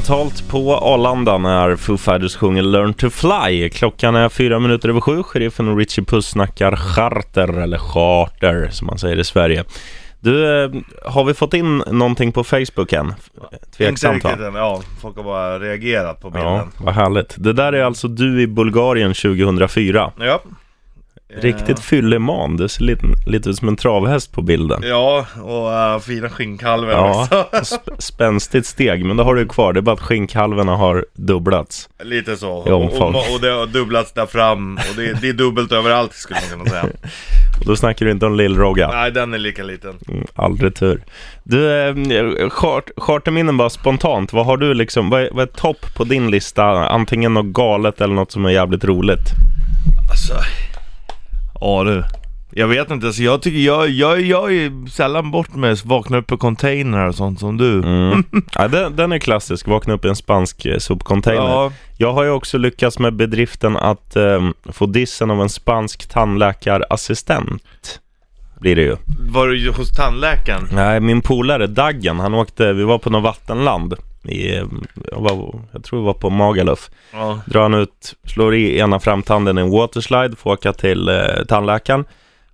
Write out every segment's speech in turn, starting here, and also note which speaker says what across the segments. Speaker 1: Mentalt på Arlanda när Foo Fighters sjunger Learn to Fly. Klockan är fyra minuter över sju. Sheriffen och Richie Puss snackar charter, eller charter som man säger i Sverige. Du, eh, har vi fått in någonting på Facebook än? Tveksamt
Speaker 2: Inte
Speaker 1: va?
Speaker 2: riktigt än, ja. Folk har bara reagerat på
Speaker 1: Ja,
Speaker 2: bilden.
Speaker 1: vad härligt. Det där är alltså du i Bulgarien 2004.
Speaker 2: Ja.
Speaker 1: Riktigt fylleman. Du ser lite, lite ut som en travhäst på bilden.
Speaker 2: Eh, Ja, och eh, fina skinnkalven
Speaker 1: Ja,
Speaker 2: också.
Speaker 1: sp- spänstigt steg, men det har du kvar. Det är bara att skinkhalvorna har dubblats.
Speaker 2: Lite så.
Speaker 1: I
Speaker 2: Och,
Speaker 1: omfång.
Speaker 2: och, och det har dubblats där fram. Och det, det är dubbelt överallt skulle man kunna säga.
Speaker 1: Och då snackar du inte om Lill-Rogga.
Speaker 2: Nej, den är lika liten.
Speaker 1: Mm, Aldrig tur. Du, eh, chart- charterminnen bara spontant. Vad har du liksom, vad är, vad är topp på din lista? Antingen något galet eller något som är jävligt roligt.
Speaker 2: Alltså. Ja du. Jag vet inte, alltså jag tycker jag, jag, jag är sällan bort med att vakna upp i containrar och sånt som du.
Speaker 1: Mm. ja, den, den är klassisk, vakna upp i en spansk eh, sopcontainer.
Speaker 2: Ja,
Speaker 1: Jag har ju också lyckats med bedriften att eh, få dissen av en spansk tandläkarassistent. Blir det ju.
Speaker 2: var du hos tandläkaren?
Speaker 1: Nej, min polare Daggen, han åkte, vi var på något vattenland. I, eh, jag, var, jag tror vi var på Magaluf.
Speaker 2: Ja.
Speaker 1: drar han ut, slår i ena framtanden i en waterslide, får åka till eh, tandläkaren.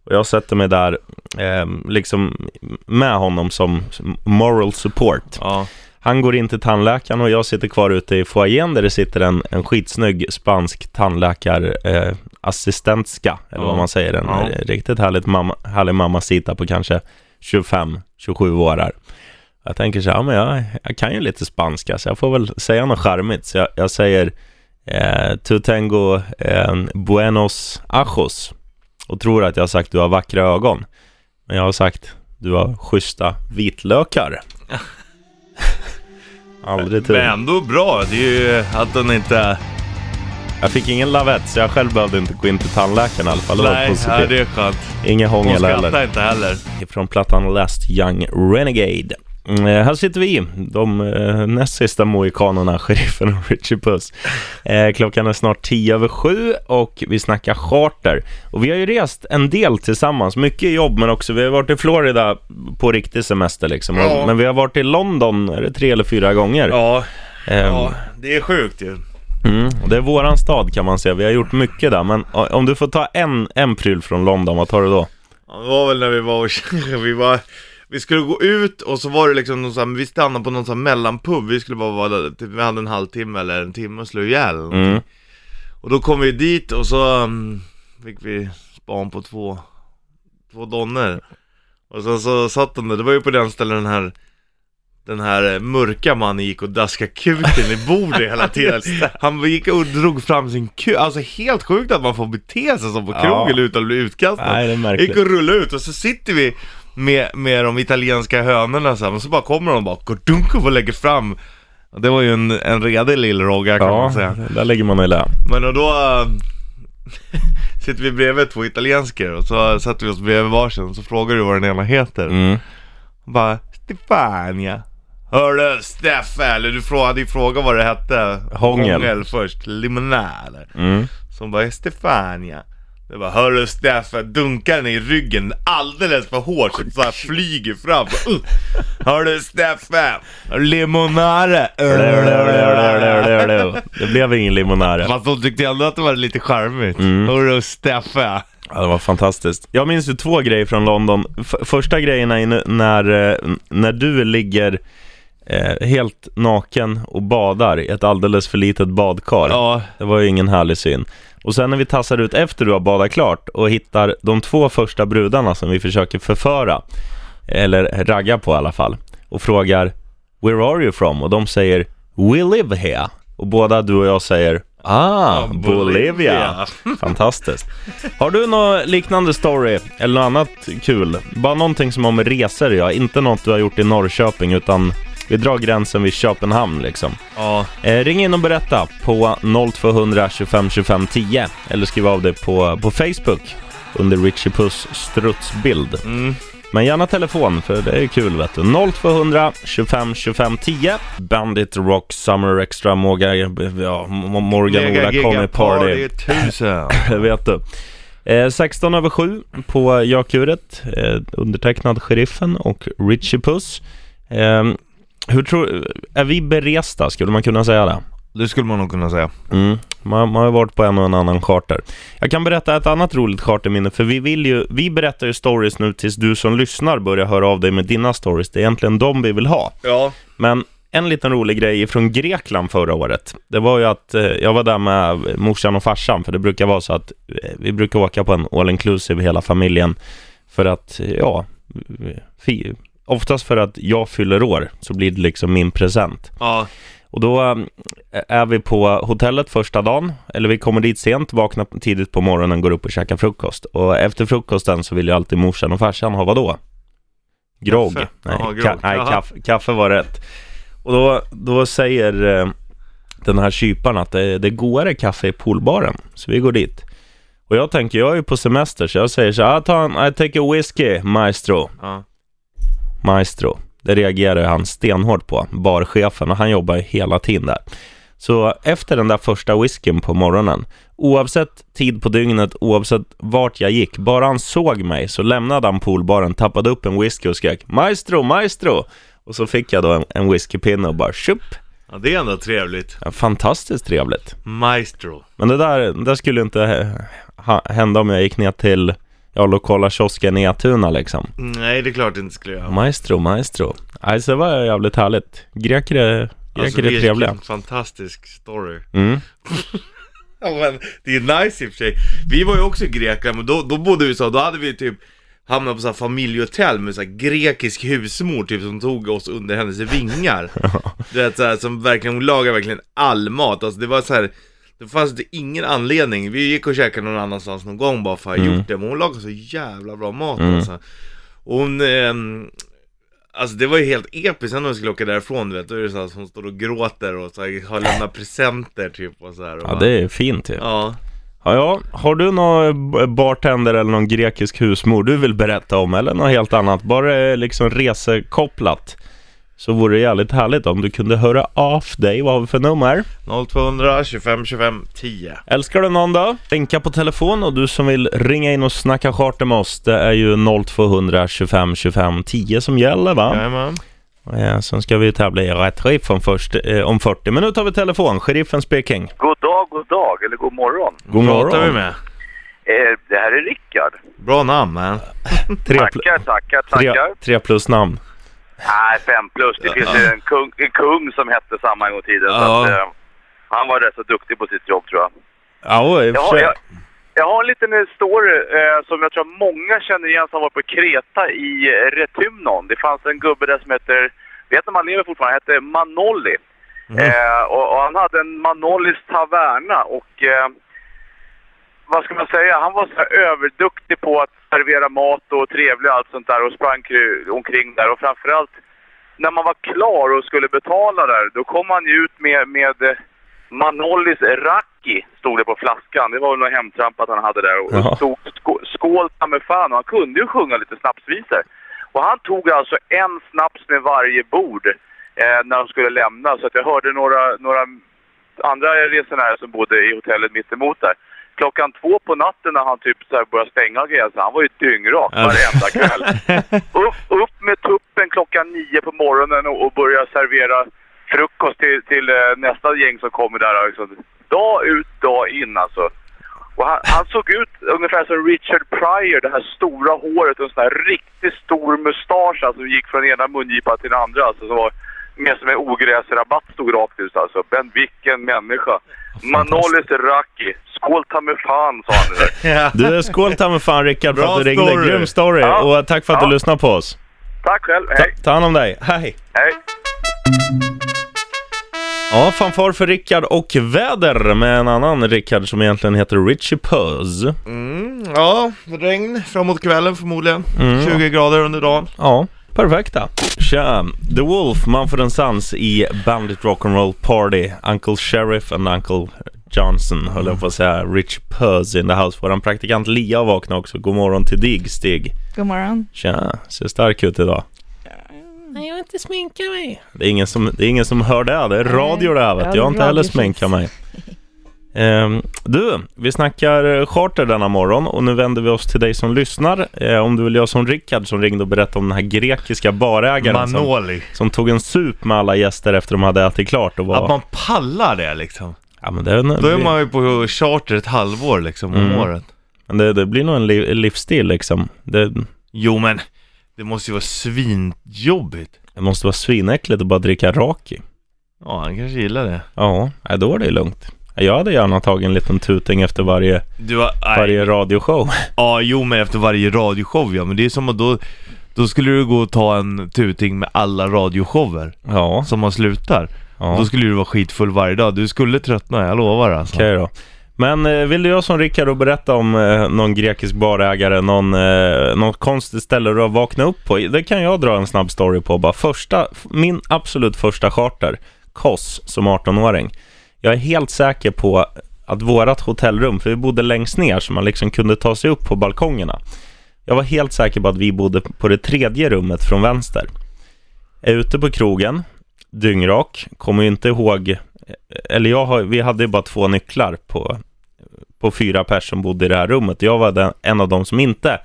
Speaker 1: Och jag sätter mig där, eh, liksom med honom som som moral support.
Speaker 2: Ja.
Speaker 1: Han går in till tandläkaren och jag sitter kvar ute i foajén där det sitter en, en skitsnygg spansk tandläkarassistentska, eh, assistentska, eller vad
Speaker 2: Ja.
Speaker 1: man säger. En
Speaker 2: Ja.
Speaker 1: eh, riktigt härligt mamma, härlig mamma sitta på kanske 25-27 år här. Jag tänker så här, ja, men jag, jag kan ju lite spanska så jag får väl säga något charmigt. Så jag, jag säger eh, Tu tengo eh, buenos ajos och tror att jag har sagt du har vackra ögon. Men jag har sagt du
Speaker 2: Mm.
Speaker 1: har schyssta vitlökar. Aldrig
Speaker 2: Men
Speaker 1: tur.
Speaker 2: ändå bra, det är ju att den inte...
Speaker 1: Jag fick ingen lavett så jag själv behövde inte gå in till tandläkaren i alla fall. Det var
Speaker 2: Nej, ja, det
Speaker 1: positivt.
Speaker 2: är skönt.
Speaker 1: Ingen
Speaker 2: Hon
Speaker 1: hångel heller.
Speaker 2: skrattar inte heller.
Speaker 1: från plattan Last Young Renegade. Mm, eh, här sitter vi, de eh, näst sista mohikanerna, sheriffen och Richie Puss. Eh, klockan är snart tio över sju och vi snackar charter. Och vi har ju rest en del tillsammans, mycket jobb men också vi har varit i Florida på riktig semester liksom. Och-
Speaker 2: Ja.
Speaker 1: Men vi har varit i London, är det tre eller fyra gånger?
Speaker 2: Ja,
Speaker 1: Eh,
Speaker 2: ja, det är sjukt ju.
Speaker 1: Mm, och det är våran stad kan man säga, vi har gjort mycket där. Men eh, om du får ta en, en pryl från London, vad tar du då?
Speaker 2: Ja, Det var väl när vi var och vi var... Vi skulle gå ut och så var det liksom någon sån här, vi stannade på någon sån här mellanpub, vi skulle bara vara där, typ, vi hade en halvtimme eller en timme och slå ihjäl
Speaker 1: Mm.
Speaker 2: Och då kom vi dit och så um, fick vi span på två, två donner Och sen så satt de där, det var ju på den stället den här den här eh, mörka mannen gick och daskade kuken i bordet hela tiden Han gick och drog fram sin kuk, alltså helt sjukt att man får bete sig så på
Speaker 1: Ja.
Speaker 2: krogen utan att bli utkastad
Speaker 1: Nej, det är märkligt.
Speaker 2: Gick och rullade ut och så sitter vi med, med de italienska hönorna så här, men så bara kommer de och bara kurdunk och lägger fram Det var ju en, en redig lillrogga kan man säga
Speaker 1: där ligger man i lä.
Speaker 2: men och då äh, sitter vi bredvid två italiensker och så sätter vi oss bredvid varsin så frågar du vad den ena heter.
Speaker 1: Mm.
Speaker 2: Bara Stefania. Hörru Steffe, eller du frå- hade ju frågat vad det hette.
Speaker 1: Hångel.
Speaker 2: först, limonade.
Speaker 1: Mm.
Speaker 2: Som bara Stefania. Det bara hörru Steffe, dunkar den i ryggen alldeles för hårt så så här flyger fram. Uh. Hörru Steffe, limonare.
Speaker 1: Det blev ingen limonare.
Speaker 2: Fast de tyckte ändå att det var lite charmigt. Hörru Steffe.
Speaker 1: Ja, det var fantastiskt. Jag minns ju två grejer från London. F- första grejen är ju när, eh, när du ligger eh, helt naken och badar i ett alldeles för litet badkar.
Speaker 2: Ja.
Speaker 1: Det var ju ingen härlig syn. Och sen när vi tassar ut efter du har badat klart och hittar de två första brudarna som vi försöker förföra, eller ragga på i alla fall, och frågar “Where are you from?” och de säger “We live here” och båda du och jag säger “Ah, Bolivia”.
Speaker 2: Bolivia.
Speaker 1: Fantastiskt. Har du någon liknande story eller något annat kul? Bara någonting som har med resor att göra, inte något du har gjort i Norrköping utan vi drar gränsen vid Köpenhamn liksom.
Speaker 2: Ja.
Speaker 1: Eh, ring in och berätta på 0200 25 25 10 eller skriv av det på, på Facebook under Richie Puss strutsbild.
Speaker 2: Mm.
Speaker 1: Men gärna telefon för det är ju kul vet du. 0200 25 25 10 Bandit Rock Summer Extra Moga, ja, Mo- Morgan
Speaker 2: Mega
Speaker 1: Ola Conny
Speaker 2: giga
Speaker 1: Party.
Speaker 2: party tusen.
Speaker 1: Det vet du. Eh, 16 över 7 på Jakuret, eh, undertecknad Sheriffen och Richie Puss. Eh, Hur tror, är vi beresta? Skulle man kunna säga det?
Speaker 2: Det skulle man nog kunna säga.
Speaker 1: Mm. Man, man har ju varit på en och en annan charter. Jag kan berätta ett annat roligt charterminne, för vi vill ju, vi berättar ju stories nu tills du som lyssnar börjar höra av dig med dina stories. Det är egentligen de vi vill ha.
Speaker 2: Ja.
Speaker 1: Men en liten rolig grej från Grekland förra året, det var ju att eh, jag var där med morsan och farsan, för det brukar vara så att eh, vi brukar åka på en all inclusive hela familjen för att, eh, ja, fi, oftast för att jag fyller år så blir det liksom min present.
Speaker 2: Ja.
Speaker 1: Och då eh, är vi på hotellet första dagen, eller vi kommer dit sent, vaknar tidigt på morgonen, går upp och käkar frukost. Och efter frukosten så vill ju alltid morsan och farsan ha vadå? Grogg.
Speaker 2: Kaffe.
Speaker 1: Nej,
Speaker 2: Ja, grogg.
Speaker 1: ka- nej
Speaker 2: Jaha.
Speaker 1: kaffe, kaffe var rätt. Och då, då säger eh, den här kyparen att det, det är godare kaffe i poolbaren, så vi går dit. Och jag tänker, jag är ju på semester, så jag säger så här, "Ah, ta en, I take a whiskey, maestro.
Speaker 2: ja.
Speaker 1: Maestro. Det reagerade han stenhårt på, barchefen, och han jobbar ju hela tiden där. Så efter den där första whiskyn på morgonen, oavsett tid på dygnet, oavsett vart jag gick, bara han såg mig så lämnade han poolbaren, tappade upp en whisky och skrek ”Maestro, maestro!” Och så fick jag då en, en whiskypinne och bara tjupp!
Speaker 2: Ja, det är ändå trevligt.
Speaker 1: Fantastiskt trevligt.
Speaker 2: Maestro.
Speaker 1: Men det där, det där skulle inte eh, ha, hända om jag gick ner till ja, lokala kiosken i Atuna liksom.
Speaker 2: Nej, det är klart det inte skulle göra.
Speaker 1: Maestro, maestro. Alltså det var jävligt härligt. Greker är, greker Alltså, är
Speaker 2: vilken
Speaker 1: trevliga.
Speaker 2: fantastisk story.
Speaker 1: Mm.
Speaker 2: Ja, men det är nice i och för sig. Vi var ju också i Grekland, men då, då bodde vi i USA, då hade vi typ hamnat på så här familjehotell med så här grekisk husmor typ som tog oss under hennes vingar. Du vet så här, som verkligen, hon lagade verkligen all mat. Alltså det var så här, det fanns inte ingen anledning. Vi gick och käkade någon annanstans någon gång bara för att ha
Speaker 1: Mm.
Speaker 2: gjort det, men hon lagade så jävla bra mat alltså. Och hon, ehm, Alltså det var ju helt episkt sen när vi skulle åka därifrån du vet, då är det så här, att hon står och gråter och så här, har lämnat presenter typ och så här, och
Speaker 1: Ja,
Speaker 2: bara-
Speaker 1: det är fint ju. Ja.
Speaker 2: Ja,
Speaker 1: ja, har du någon b- bartender eller någon grekisk husmor du vill berätta om eller något helt annat? Bara eh, liksom resekopplat. Så vore det jävligt härligt om du kunde höra av dig. Vad har vi för nummer?
Speaker 2: 0200 25 25 10
Speaker 1: Älskar du någon då? Länka på telefon och du som vill ringa in och snacka charter med oss, det är ju 0200 25 25 10 som gäller va?
Speaker 2: Jajamän
Speaker 1: Eh, Sen ska vi tävla i rätt sheriff om, först, eh, om 40 minuter har vi telefon. Sheriffen speaking.
Speaker 3: God dag, god dag, eller god morgon.
Speaker 1: God
Speaker 2: Pratar vi
Speaker 1: morgon.
Speaker 2: med?
Speaker 3: Eh, det här är Rickard.
Speaker 2: Bra namn man
Speaker 1: Tre, pl-
Speaker 3: Tackar, tackar,
Speaker 1: tre,
Speaker 3: tackar.
Speaker 1: tre plus namn.
Speaker 3: Nej, fem plus. Det finns ju en kung, en kung som hette samma en gång i tiden.
Speaker 2: Ja.
Speaker 3: Så att, eh, han var rätt så duktig på sitt jobb, tror jag.
Speaker 1: Ja, i och
Speaker 3: Jag
Speaker 1: för
Speaker 3: har,
Speaker 1: sig.
Speaker 3: jag, jag har en liten story eh, som jag tror många känner igen som var på Kreta i eh, Retumnon. Det fanns en gubbe där som heter, vet om han lever fortfarande, han hette Manolli.
Speaker 1: Mhm.
Speaker 3: Eh, och, och han hade en Manollis taverna och eh, vad ska man säga, han var så här överduktig på att servera mat och trevlig och allt sånt där och sprang kru- omkring där och framförallt när man var klar och skulle betala där, då kom han ju ut med, med eh, Manollis Raki, stod det på flaskan. Det var väl något hemtrampat han hade där. Och
Speaker 1: Jaha.
Speaker 3: stod sko- skål ta mig fan och han kunde ju sjunga lite snapsvisor. Och han tog alltså en snaps med varje bord eh, när de skulle lämna. Så att jag hörde några, några andra resenärer som bodde i hotellet mittemot där. Klockan två på natten när han typ så här började stänga gränsen, han var ju dyngrak varenda kväll. Upp, upp med tuppen klockan nio på morgonen och, och börja servera frukost till, till eh, nästa gäng som kommer där. Liksom. Dag ut, dag in alltså. Och han, han såg ut ungefär som Richard Pryor, det här stora håret och en sån här riktigt stor mustasch alltså, som gick från ena mungipan till den andra. Alltså, som var mer som en ogräsrabatt stod rakt ut alltså. Men vilken människa! Manolis Raki, skål ta mig fan sa han.
Speaker 1: Du, skål ta mig fan Rickard för
Speaker 2: Bra
Speaker 1: att du ringde.
Speaker 2: story.
Speaker 1: Grym story.
Speaker 3: Ja.
Speaker 1: Och tack för att
Speaker 3: Ja.
Speaker 1: du lyssnade på oss.
Speaker 3: Tack själv,
Speaker 1: Ta,
Speaker 3: hej!
Speaker 1: ta hand om dig. Hej.
Speaker 3: hej.
Speaker 1: Ja, fanfar för Rickard och väder med en annan Rickard som egentligen heter Richie Puss.
Speaker 2: mm, Ja, regn framåt kvällen förmodligen
Speaker 1: Mm.
Speaker 2: 20 grader under dagen
Speaker 1: Ja, perfekta. Tja, The Wolf, Manfred and Sons i Bandit Rock'n'Roll Party. Uncle Sheriff and Uncle Johnson, höll jag på att säga. Rich Purse in the house. Våran praktikant Lia har vaknat också. God morgon till dig, Stig.
Speaker 4: God morgon.
Speaker 1: Tja, ser stark ut idag.
Speaker 4: Nej, jag har inte sminkat mig.
Speaker 1: Det är ingen som, det är ingen som hör det. Det är radio det här vet du. Jag har inte heller sminkat mig. Ehm, du, vi snackar eh, charter denna morgon och nu vänder vi oss till dig som lyssnar. Eh, om du vill göra som Rickard som ringde och berättade om den här grekiska barägaren som,
Speaker 2: Manoli.
Speaker 1: som tog en sup med alla gäster efter de hade ätit klart och var...
Speaker 2: Att man pallar det liksom.
Speaker 1: Ja, men det, är en,
Speaker 2: Då är man ju på charter ett halvår liksom om
Speaker 1: Mm.
Speaker 2: året.
Speaker 1: men det, det blir nog en li, livsstil liksom. Det,
Speaker 2: Jo men, det måste ju vara svinjobbigt.
Speaker 1: det måste vara svinäckligt att bara dricka raki.
Speaker 2: Ja, han kanske gillar det.
Speaker 1: Ja, nej, då är det lugnt. Jag hade gärna tagit en liten tuting efter varje,
Speaker 2: Du har, nej.
Speaker 1: varje radioshow.
Speaker 2: Ja, jo men efter varje radioshow ja, men det är som att då, då skulle du gå och ta en tuting med alla radioshower
Speaker 1: Ja,
Speaker 2: som man slutar.
Speaker 1: ja.
Speaker 2: Då skulle du vara skitfull varje dag. Du skulle tröttna, jag lovar alltså.
Speaker 1: Okej då. Men eh, vill du göra som Rickard och berätta om eh, någon grekisk barägare, någon, eh, något konstigt ställe du har vaknat upp på? Det kan jag dra en snabb story på bara. Första, f- min absolut första charter, Kos, som 18-åring. Jag är helt säker på att vårat hotellrum, för vi bodde längst ner så man liksom kunde ta sig upp på balkongerna. Jag var helt säker på att vi bodde på det tredje rummet från vänster. Är ute på krogen, dyngrak, kommer ju inte ihåg eller jag har, vi hade ju bara två nycklar på, på fyra personer som bodde i det här rummet. Jag var den, en av dem som inte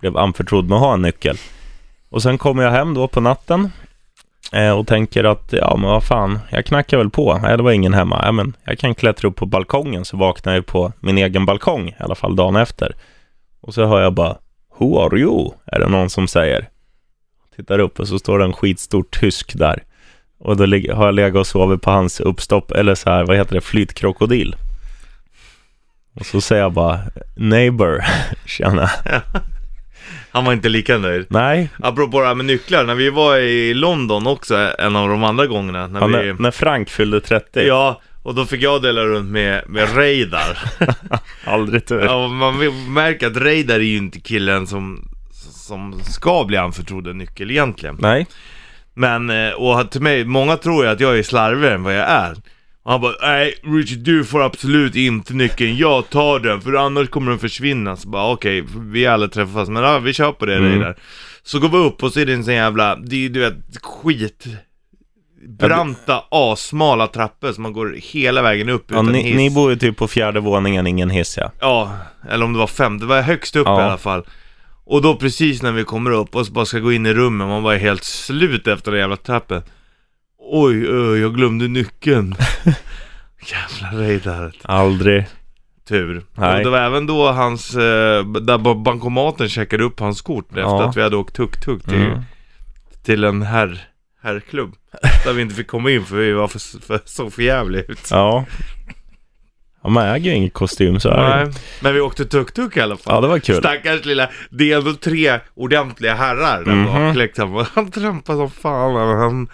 Speaker 1: blev anförtrodd med att ha en nyckel. Och sen kommer jag hem då på natten eh, och tänker att, ja men vad fan, jag knackar väl på. Nej, det var ingen hemma. Ja, men jag kan klättra upp på balkongen så vaknar jag ju på min egen balkong, i alla fall dagen efter. Och så hör jag bara, Who are you? Är det någon som säger. Tittar upp och så står det en skitstor tysk där. Och då lig- har jag legat och sovit på hans uppstopp, eller så här, vad heter det, flytkrokodil. Och så säger jag bara, neighbor, tjena.
Speaker 2: Han var inte lika nöjd.
Speaker 1: Nej,
Speaker 2: Apropå det här med nycklar, när vi var i London också en av de andra gångerna. När
Speaker 1: ja,
Speaker 2: vi...
Speaker 1: när, när Frank fyllde 30,
Speaker 2: Ja, och då fick jag dela runt med, med Reidar.
Speaker 1: aldrig tur.
Speaker 2: ja, och man vill- märker att Reidar är ju inte killen som, som ska bli anförtrodd en nyckel egentligen.
Speaker 1: Nej,
Speaker 2: Men, eh, och till mig, många tror ju att jag är slarvigare än vad jag är. Och han bara, nej Richard du får absolut inte nyckeln, jag tar den för annars kommer den försvinna. Så bara okej, vi har aldrig träffats men ja, vi kör på det
Speaker 1: Mm.
Speaker 2: mm. där. Så går vi upp och så är det en sån jävla, det är ju, du vet, skit. Branta, assmala trappor som man går hela vägen upp
Speaker 1: ja,
Speaker 2: utan
Speaker 1: ni,
Speaker 2: hiss.
Speaker 1: ni bor ju typ på fjärde våningen, ingen hiss ja.
Speaker 2: Ja, eller om det var fem, det var högst upp
Speaker 1: Ja.
Speaker 2: i alla fall. Och då precis när vi kommer upp och så bara ska gå in i rummet, man var helt slut efter den jävla trappen. Oj, ö, jag glömde nyckeln. jävla Reidar.
Speaker 1: Aldrig.
Speaker 2: Tur.
Speaker 1: Nej.
Speaker 2: Och det var även då hans, eh, där ba- bankomaten checkade upp hans kort efter
Speaker 1: Ja.
Speaker 2: att vi hade åkt tuk-tuk till,
Speaker 1: Mm.
Speaker 2: till en herr, herrklubb. Där vi inte fick komma in för vi var för, för, såg för jävligt ut.
Speaker 1: Ja. ja. Man äger ju ingen kostym så är det ju.
Speaker 2: Nej. Men vi åkte tuk-tuk i alla fall.
Speaker 1: Ja, det var kul.
Speaker 2: Stackars lilla, det är ändå tre ordentliga herrar där
Speaker 1: Mhm.
Speaker 2: bak liksom. Och Han trampade som fan. men Han,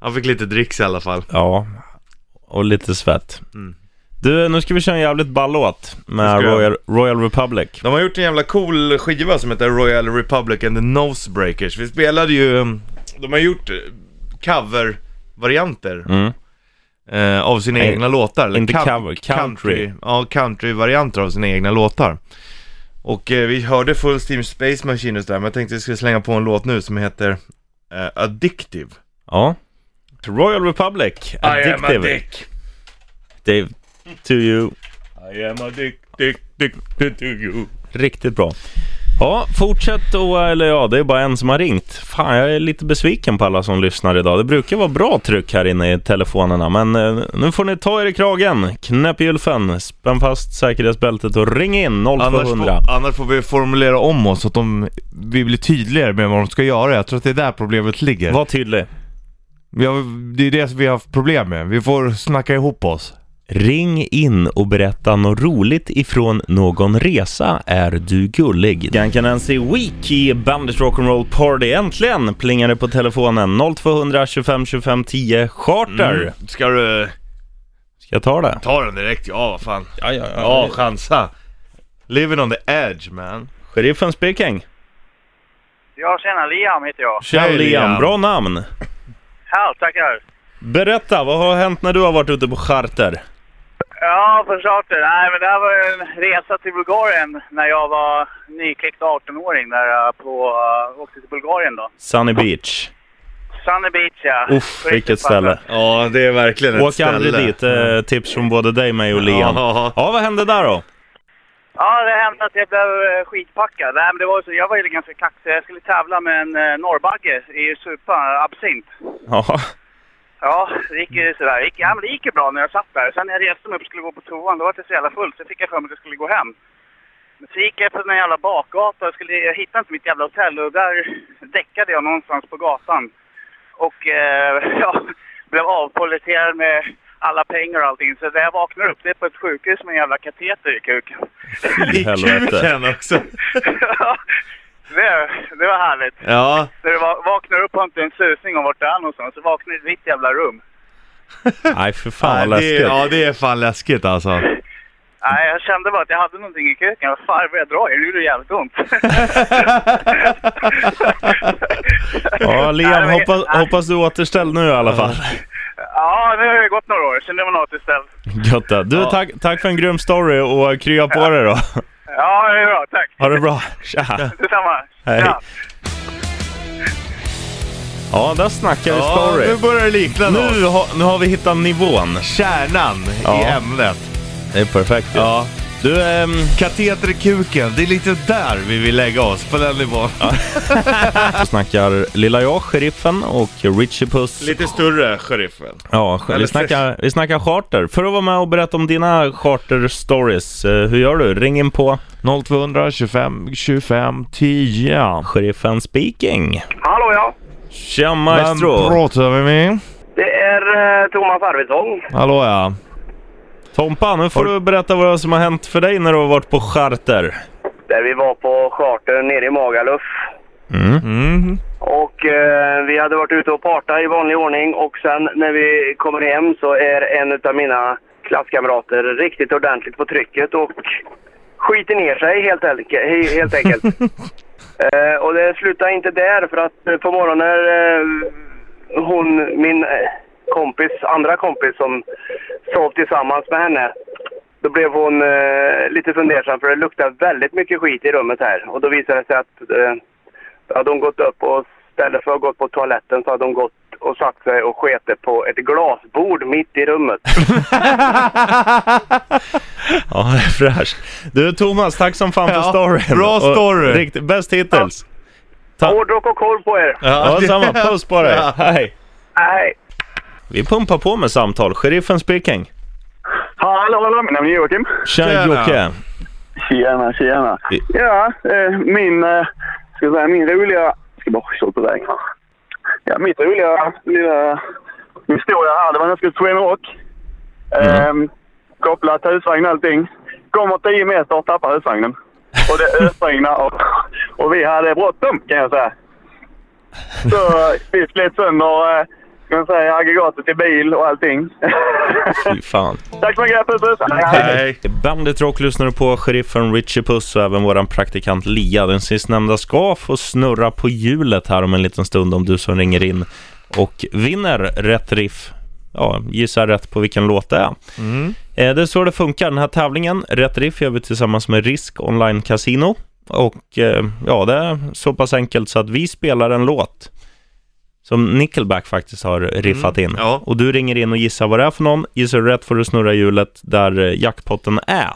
Speaker 2: han fick lite dricks i alla fall.
Speaker 1: Ja, och lite svett.
Speaker 2: Mm.
Speaker 1: Du, nu ska vi köra en jävligt ball låt med
Speaker 2: Det ska jag.
Speaker 1: Royal, Royal Republic.
Speaker 2: De har gjort en jävla cool skiva som heter Royal Republic and the Nosebreakers. Vi spelade ju, um, de har gjort eh, covervarianter
Speaker 1: Mm.
Speaker 2: eh, av sina
Speaker 1: Nej,
Speaker 2: egna låtar. Eller
Speaker 1: inte
Speaker 2: coun-
Speaker 1: cover, country.
Speaker 2: Ja, countryvarianter av sina egna låtar. Och eh, vi hörde Full Steam Space Machine och sådär, men jag tänkte att jag skulle slänga på en låt nu som heter eh, Addictive.
Speaker 1: Ja. Royal Republic, Addictive.
Speaker 2: dick.
Speaker 1: Dave, to you.
Speaker 2: I am a dick, dick, dick, dick to you.
Speaker 1: Riktigt bra. Ja, fortsätt och, eller ja, det är bara en som har ringt. Fan, jag är lite besviken på alla som lyssnar idag. Det brukar vara bra tryck här inne i telefonerna, men eh, nu får ni ta er i kragen. Knäpp gylfen, spänn fast säkerhetsbältet och ring in
Speaker 2: Annars
Speaker 1: 0200.
Speaker 2: får, annars får vi formulera om oss så att de, vi blir tydligare med vad de ska göra. Jag tror att det är där problemet ligger.
Speaker 1: Var tydlig.
Speaker 2: Vi har, det är det som vi har haft problem med. Vi får snacka ihop oss.
Speaker 1: Ring in och berätta något roligt ifrån någon resa är du gullig. Gankanensi Week i Bandit Rock'n'Roll Party. Äntligen plingar det på telefonen 0200 25 25 10 charter.
Speaker 2: Mm. Ska du
Speaker 1: Ska jag ta det?
Speaker 2: ta den direkt? Ja, vad fan.
Speaker 1: Ja, ja,
Speaker 2: Ja, chansa. Living on the edge man.
Speaker 1: Sheriffen speaking.
Speaker 3: Ja, tjena. Liam heter jag.
Speaker 1: Tja
Speaker 2: Hej,
Speaker 1: Liam,
Speaker 2: Liam.
Speaker 1: bra namn.
Speaker 3: Ja, tackar.
Speaker 1: Berätta, vad har hänt när du har varit ute på charter?
Speaker 3: Ja, för charter. Nej, men det här var ju en resa till Bulgarien när jag var
Speaker 5: eh,
Speaker 3: nykläckt 18-åring. Där jag på, åkte till Bulgarien då.
Speaker 1: Sunny Beach.
Speaker 5: Sunny Beach ja.
Speaker 1: Uff, vilket ställe.
Speaker 2: Ja, det är verkligen ett
Speaker 1: Åk
Speaker 2: ställe.
Speaker 1: aldrig dit. Eh, tips från både dig, mig och Liam.
Speaker 2: Ja.
Speaker 1: Ja, vad hände där då?
Speaker 5: Ja, det hände att jag blev eh, skitpackad. Nej, men det var ju så, jag var ju ganska kaxig. Jag skulle tävla med en eh, norrbagge i supa, absint.
Speaker 1: Ja,
Speaker 5: Ja, det gick ju sådär. Det gick, ja, men det gick ju bra när jag satt där. Sen när jag reste mig upp och skulle gå på toan, då var det så jävla fullt. Så fick jag för mig att jag skulle gå hem. Men så gick jag på den jävla bakgatan och skulle, jag hittade inte mitt jävla hotell och där däckade jag någonstans på gatan. Och eh, jag blev avpoliterad med alla pengar och allting. Så när jag vaknar upp, det är på ett sjukhus med en jävla kateter i kuken.
Speaker 1: i helvete.
Speaker 2: kuken också.
Speaker 5: det, det var härligt.
Speaker 2: Ja,
Speaker 5: När du va- vaknar upp har du inte en susning om vart du är någonstans. Så vaknar du i ditt jävla rum.
Speaker 1: Nej, för fan vad
Speaker 2: Nej, det,
Speaker 1: läskigt.
Speaker 2: ja, det är fan läskigt alltså.
Speaker 5: Nej, jag kände bara att jag hade någonting i kuken. Vad fan började jag dra i? Nu gjorde det jävligt ont.
Speaker 1: Ja,
Speaker 5: Nej, det
Speaker 1: Liam,
Speaker 5: var-
Speaker 1: hoppas,
Speaker 5: nej.
Speaker 1: hoppas du är återställd nu i alla fall.
Speaker 5: Ja, nu har det gått några år sedan det var något istället.
Speaker 1: Gött det. Du,
Speaker 2: Ja.
Speaker 1: tack, tack för en grym story och krya på dig då.
Speaker 5: Ja, det är bra. Tack.
Speaker 1: Ha det bra. Tja.
Speaker 5: Detsamma.
Speaker 1: Hej.
Speaker 5: Ja.
Speaker 1: Ja, där snackar vi
Speaker 2: Ja,
Speaker 1: story.
Speaker 2: nu börjar det likna något.
Speaker 1: Nu, har, nu har vi hittat nivån.
Speaker 2: Kärnan i
Speaker 1: Ja.
Speaker 2: ämnet.
Speaker 1: Det är perfekt ju.
Speaker 2: Ja.
Speaker 1: Du, ehm,
Speaker 2: Kateter i kuken, det är lite där vi vill lägga oss, på den nivån.
Speaker 1: vi snackar Lilla jag, Sheriffen och Richie Puss.
Speaker 2: Lite större, sheriffen.
Speaker 1: Ja, sk- vi
Speaker 2: Eller
Speaker 1: snackar, vi snackar charter. För att vara med och berätta om dina charter-stories, eh, hur gör du? Ring in på
Speaker 2: 0200 25 25 10.
Speaker 1: Sheriffen speaking.
Speaker 5: Hallå, ja.
Speaker 1: Tja
Speaker 2: Vem
Speaker 1: maestro!
Speaker 2: pratar vi med?
Speaker 5: Det är eh, Thomas Arvidsson.
Speaker 2: Hallå ja.
Speaker 1: Tompa, nu får du berätta vad som har hänt för dig när du har varit på charter.
Speaker 5: Där vi var på charter nere i Magaluf.
Speaker 2: Mm.
Speaker 5: Och eh, vi hade varit ute och parta i vanlig ordning och sen när vi kommer hem så är en av mina klasskamrater riktigt ordentligt på trycket och skiter ner sig helt, elke, he- helt enkelt. eh, och det slutade inte där för att eh, på morgonen eh, hon, min eh, kompis, andra kompis som sov tillsammans med henne då blev hon eh, lite fundersam för det luktade väldigt mycket skit i rummet här. Och då visade det sig att eh, då hade hon gått upp och istället för att gått på toaletten så hade hon gått och satt sig och sketit på ett glasbord mitt i rummet.
Speaker 1: Ja, det är fräscht. Du Thomas, tack som fan för
Speaker 2: Ja,
Speaker 1: storyn.
Speaker 2: bra
Speaker 1: Och
Speaker 2: story.
Speaker 1: Riktigt, bäst hittills.
Speaker 5: Hårdrock och korv på er!
Speaker 1: Ja, samma. Puss på dig. Hej.
Speaker 5: Nej.
Speaker 1: Vi pumpar på med samtal. Sheriffen speaking.
Speaker 5: Hallå, hallå, mitt namn är Joakim.
Speaker 1: Tja
Speaker 2: Tjena.
Speaker 1: Jocke.
Speaker 6: Tjena, tjena. Ja, eh, min, eh, ska jag säga, min roliga... Ska bara köra på väg. Ja, mitt roliga lilla historia här, det var när jag skulle till Sweden Rock. Ehm, kopplat husvagn och allting. Kommer 10 meter och tappar husvagnen. Och det ösregnar och, och vi hade bråttom kan jag säga. Så eh, vi slet sönder eh, ska man säga, aggregatet i bil och allting.
Speaker 1: Fy fan.
Speaker 6: Tack så mycket, puss puss!
Speaker 2: Hej.
Speaker 1: Bandit Rock lyssnar du på, sheriffen Richie Puss och även våran praktikant Lia. Den sistnämnda ska få snurra på hjulet här om en liten stund om du som ringer in och vinner rätt riff. Ja, gissar rätt på vilken låt det är.
Speaker 2: Mm.
Speaker 1: Eh, Det är så det funkar. Den här tävlingen, Rätt Riff, gör vi tillsammans med Risk Online Casino. Och eh, ja, det är så pass enkelt så att vi spelar en låt som Nickelback faktiskt har riffat in.
Speaker 2: Mm, ja.
Speaker 1: Och du ringer in och gissar vad det är för någon. Gissar du rätt får du snurra hjulet där eh, jackpotten är.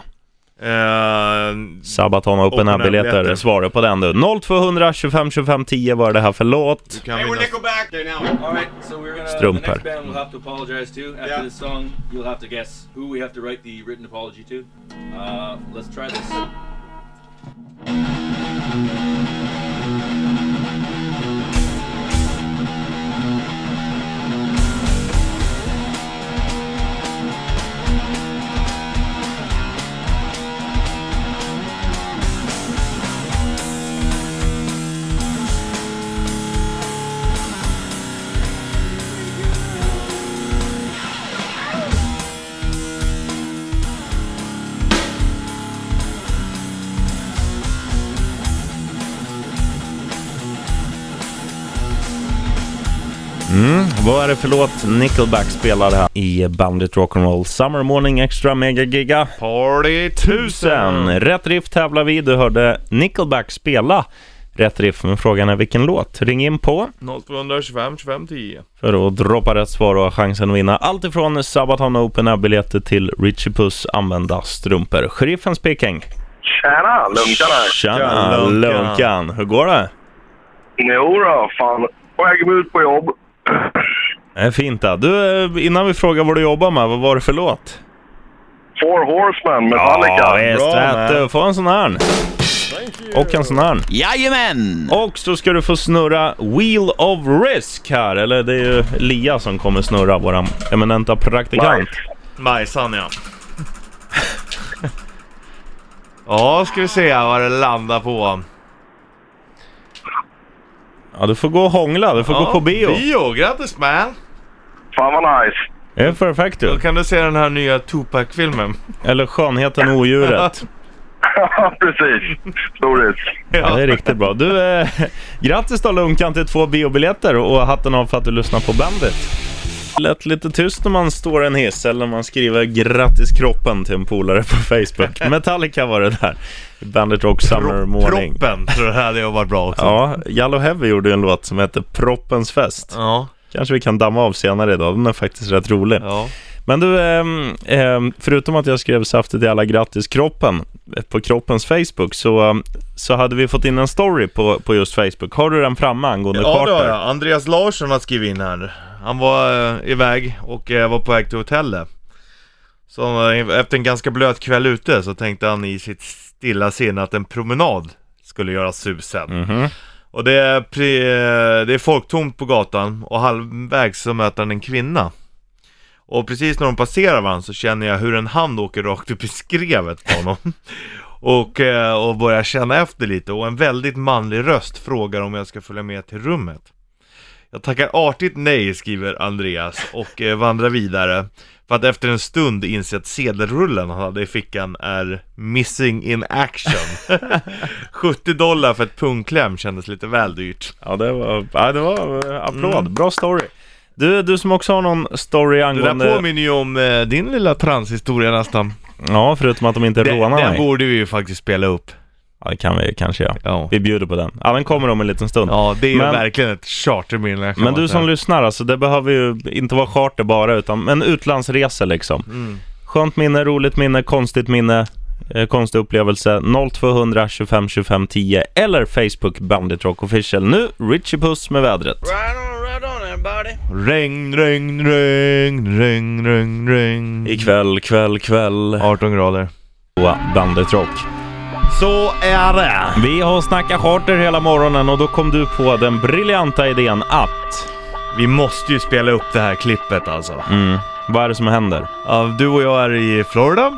Speaker 2: Eh,
Speaker 1: Sabaton och Open Air-biljetter.
Speaker 2: Air-biljetter.
Speaker 1: Svara på den du. 0200 25 25 10 var det här för låt.
Speaker 2: kan
Speaker 7: Hey, we're
Speaker 2: vinna.
Speaker 7: Nickelback.
Speaker 8: Okay, now,
Speaker 7: All right, so we're gonna.
Speaker 1: Strumper.
Speaker 7: The next band we'll have to apologize to after
Speaker 8: Yeah.
Speaker 7: this song. You'll have to guess who we have to write the written apology to. Uh, let's try this.
Speaker 1: Vad är det för låt Nickelback spelar här i Bandit Rock'n'Roll Summer Morning Extra Mega Giga
Speaker 2: Party
Speaker 1: 1000? Rätt riff tävlar vi. Du hörde Nickelback spela rätt riff. Men frågan är vilken låt? Ring in på
Speaker 2: 0225 25 10.
Speaker 1: för att droppa rätt svar och ha chansen att vinna allt ifrån Sabaton Open-biljetter till Richie Puss använda strumpor. Sheriffen speaking.
Speaker 6: Tjena, lunkarna!
Speaker 1: Tjena
Speaker 2: Lunkan.
Speaker 1: Lunkan! Hur går det?
Speaker 6: Jo då, fan. På väg ut på jobb.
Speaker 1: Det är fint då. Du, eh, innan vi frågar vad du jobbar med, vad var det för låt?
Speaker 6: Four Horsemen, Metallica.
Speaker 1: Ja, visst
Speaker 2: Bra,
Speaker 1: vet du.
Speaker 2: man.
Speaker 1: Få en sån här. Och en sån här. Jajamän! Och så ska du få snurra Wheel of Risk här. Eller det är ju Lia som kommer snurra, våran eminenta praktikant.
Speaker 2: Majsan ja. Ja, ska vi se vad det landar på.
Speaker 1: Ja, du får gå och hångla. Du får
Speaker 2: Ja,
Speaker 1: gå på bio.
Speaker 2: Bio, grattis man!
Speaker 6: Fan vad nice.
Speaker 1: Det är perfekt
Speaker 2: Då
Speaker 1: du.
Speaker 2: kan du se den här nya Tupac-filmen.
Speaker 1: Eller Skönheten och odjuret.
Speaker 6: Precis. Storhets.
Speaker 1: Ja, det är riktigt bra. Du, eh, grattis då Lunkan till två biobiljetter och hatten av för att du lyssnar på Bandit. Det lät lite tyst när man står i en hiss eller när man skriver grattis kroppen till en polare på Facebook. Metallica var det där. Bandit Rock Summer Morning.
Speaker 2: Proppen tror jag hade jag varit bra också.
Speaker 1: Ja, Yellow Heavy gjorde ju en låt som heter Proppens fest.
Speaker 2: Ja,
Speaker 1: Kanske vi kan damma av senare idag, den är faktiskt rätt rolig.
Speaker 2: ja.
Speaker 1: Men du, ehm, ehm, förutom att jag skrev saftigt i alla grattis kroppen eh, på kroppens Facebook så, ehm, så hade vi fått in en story på, på just Facebook. Har du den framme angående
Speaker 2: Ja det har
Speaker 1: Carter?
Speaker 2: jag. Andreas Larsson har skrivit in här. Han var eh, iväg och eh, var på väg till hotellet. Så eh, efter en ganska blöt kväll ute så tänkte han i sitt stilla sinne att en promenad skulle göra susen.
Speaker 1: Mhm.
Speaker 2: Och det är, pri- eh, det är folktomt på gatan och halvvägs så möter han en kvinna. Och precis när de passerar varandra så känner jag hur en hand åker rakt upp i skrevet på honom. och, eh, och börjar känna efter lite och en väldigt manlig röst frågar om jag ska följa med till rummet. Jag tackar artigt nej, skriver Andreas och eh, vandrar vidare. För att efter en stund inse att sedelrullen han hade i fickan är missing in action. 70 dollar för ett pungkläm kändes lite väl dyrt.
Speaker 1: Ja, det var, ja, det var eh, applåd. Bra story. Du, du som också har någon story
Speaker 2: Mm. Det där
Speaker 1: angående...
Speaker 2: påminner ju om eh, din lilla transhistoria nästan.
Speaker 1: Ja, förutom att de inte
Speaker 2: Den,
Speaker 1: rånar
Speaker 2: den
Speaker 1: mig.
Speaker 2: borde vi ju faktiskt spela upp.
Speaker 1: Ja, det kan vi ju kanske göra.
Speaker 2: Ja,
Speaker 1: Vi bjuder på den. Ja, den kommer om en liten stund.
Speaker 2: ja det är ju
Speaker 1: Men-
Speaker 2: verkligen ett charterminne. kan
Speaker 1: Men
Speaker 2: man
Speaker 1: du
Speaker 2: säga.
Speaker 1: som lyssnar, alltså, det behöver ju inte vara charter bara, utan men utlandsresor liksom. Skönt minne, roligt minne, konstigt minne, eh, konstig upplevelse. 0200 25 25 10 eller Facebook Bandit Rock Official. Nu, Richie Puss med vädret.
Speaker 4: Right on, right on everybody.
Speaker 2: Regn, regn, regn, regn, regn, regn.
Speaker 1: Ikväll, kväll, kväll.
Speaker 2: 18 grader.
Speaker 1: Ja. Bandit Rock.
Speaker 2: Så är det!
Speaker 1: Vi har snackat charter hela morgonen och då kom du på den briljanta idén att...
Speaker 2: Vi måste ju spela upp det här klippet alltså.
Speaker 1: Mm, vad är det som händer?
Speaker 2: Ja, du och jag är i Florida.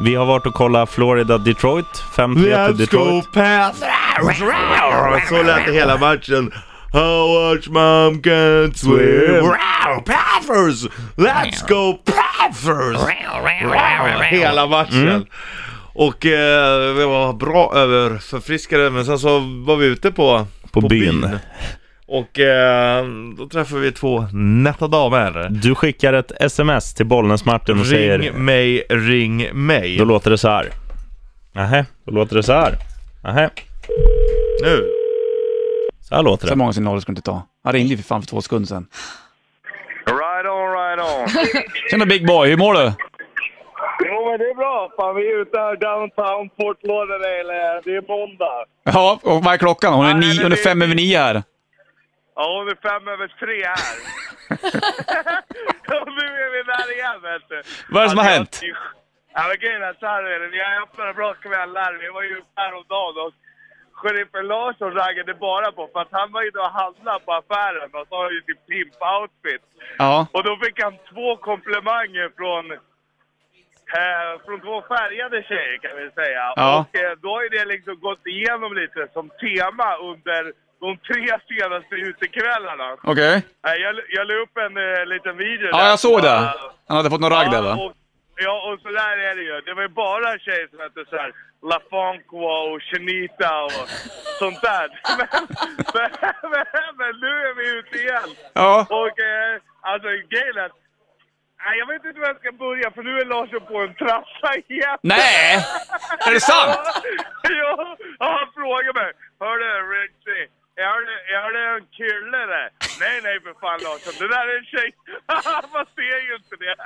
Speaker 1: Vi har varit och kollat Florida Detroit, 5-3 till Detroit.
Speaker 2: pass! Så lät det hela matchen. How much mom can swim? Paffers! Let's go Paffers!
Speaker 1: Mm.
Speaker 2: Hela matchen. Och eh, vi var bra överförfriskade, men sen så var vi ute på,
Speaker 1: På byn.
Speaker 2: Och eh, då träffade vi två nätta damer.
Speaker 1: Du skickar ett sms till Bollnäs-Martin och säger...
Speaker 2: Ring mig, ring mig.
Speaker 1: Då låter det så här. Nähä, då låter det så här. Nähä,
Speaker 2: Nu.
Speaker 1: så här låter
Speaker 7: Så
Speaker 1: det.
Speaker 7: många signaler ska du inte ta. Han ringde ju för fan för två sekunder sedan.
Speaker 6: Right on, right on.
Speaker 7: Tjena Big Boy, hur mår du?
Speaker 6: jo, men det är bra. Fan, vi är ute här downtown Fort Lauderdale. här. Det är måndag.
Speaker 7: Ja, och vad är klockan? Hon är,
Speaker 6: Nej,
Speaker 7: nio,
Speaker 6: men
Speaker 7: hon är
Speaker 6: det-
Speaker 7: fem över nio här.
Speaker 6: Ja, hon är fem över tre här. Och nu är vi där igen, vet du.
Speaker 7: Vad är det som har
Speaker 6: Alltså,
Speaker 7: hänt?
Speaker 6: jag- Ja, men grejen är så här, är det. vi har haft några bra kvällar. Vi var ju uppe häromdagen och sheriffen Larsson raggade bara på för att han var ju då och handlade på affären och så har ju sin pimp-outfit.
Speaker 7: Ja.
Speaker 6: Och då fick han två komplimanger från, eh, från två färgade tjejer kan vi säga.
Speaker 7: Ja.
Speaker 6: Och eh, då har ju det liksom gått igenom lite som tema under de tre senaste utekvällarna.
Speaker 7: Okej.
Speaker 6: Eh, Jag, jag la upp en eh, liten video
Speaker 7: Ja,
Speaker 6: där.
Speaker 7: jag såg det.
Speaker 6: Eh,
Speaker 7: Han hade fått någon ragg
Speaker 6: Ja,
Speaker 7: där va?
Speaker 6: och, ja, och så där är det ju. Det var ju bara tjejer som hette så här Lafonqua och Chenita och sånt där. Men, men, men, men nu är vi ute igen.
Speaker 7: Ja.
Speaker 6: Och eh, alltså grejen är att- Nej, jag vet inte var jag ska börja för nu är Larsson på en trassa igen.
Speaker 7: Nej! Är det sant?
Speaker 6: Ja,
Speaker 9: Och han frågar mig. Hörru Richie, är det, är det en kille där? Nej, nej för fan Larsson. Det där är en tjej. Man ser ju inte det.